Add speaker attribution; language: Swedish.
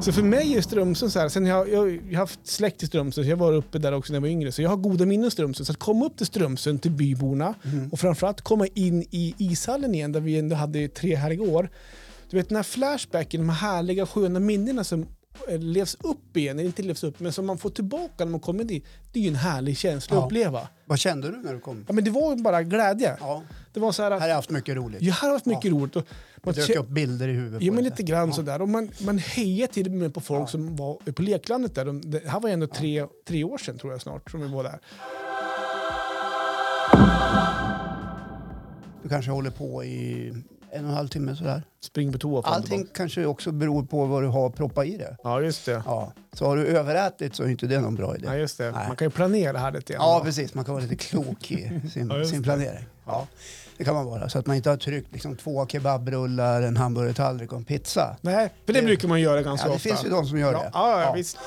Speaker 1: Så för mig är Strömsund så här, sen jag, jag jag har haft släkt i Strömsund, så jag var uppe där också när jag var yngre, så jag har goda minnen av Strömsund. Så att komma upp till Strömsund, till byborna
Speaker 2: Mm.
Speaker 1: och framförallt komma in i ishallen igen där vi ändå hade tre härliga år. Du vet den här flashbacken, de här härliga sköna minnena som eh, levs upp igen, eller inte levs upp, men som man får tillbaka när man kommer dit. Det är ju en härlig känsla att
Speaker 2: Ja.
Speaker 1: uppleva.
Speaker 2: Vad kände du när du kom?
Speaker 1: Ja, men det var ju bara glädje.
Speaker 2: Ja,
Speaker 1: Det var så här,
Speaker 2: här har jag haft mycket roligt.
Speaker 1: jag har haft mycket roligt. Och
Speaker 2: Det
Speaker 1: man
Speaker 2: dök
Speaker 1: kä-
Speaker 2: upp bilder i huvudet.
Speaker 1: Jo,
Speaker 2: på
Speaker 1: men
Speaker 2: det.
Speaker 1: lite grann sådär. Och man, man hejar till och med på folk som var på leklandet där. De, det här var ju ändå tre, tre år sedan tror jag snart som vi var där.
Speaker 2: Du kanske håller på i en och en halv timme sådär.
Speaker 1: Spring på toa. fram och
Speaker 2: Allting
Speaker 1: tillbaka.
Speaker 2: kanske också beror på vad du har proppat i det.
Speaker 1: Ja, just det.
Speaker 2: Ja. Så har du överätit så är inte det någon bra idé.
Speaker 1: Ja, just det.
Speaker 2: Nej.
Speaker 1: Man kan ju planera här lite grann.
Speaker 2: Ja, precis. Man kan vara lite klok i sin,
Speaker 1: Ja, just
Speaker 2: sin
Speaker 1: det.
Speaker 2: planering. Ja, det kan man vara. Så att man inte har tryckt liksom, två kebabrullar, en hamburgertallrik och en pizza.
Speaker 1: Nej, för det brukar man göra ganska
Speaker 2: Ja, det
Speaker 1: ofta.
Speaker 2: finns ju de som gör
Speaker 1: ja,
Speaker 2: det.
Speaker 1: Ja, ja,
Speaker 2: Ja.
Speaker 1: visst.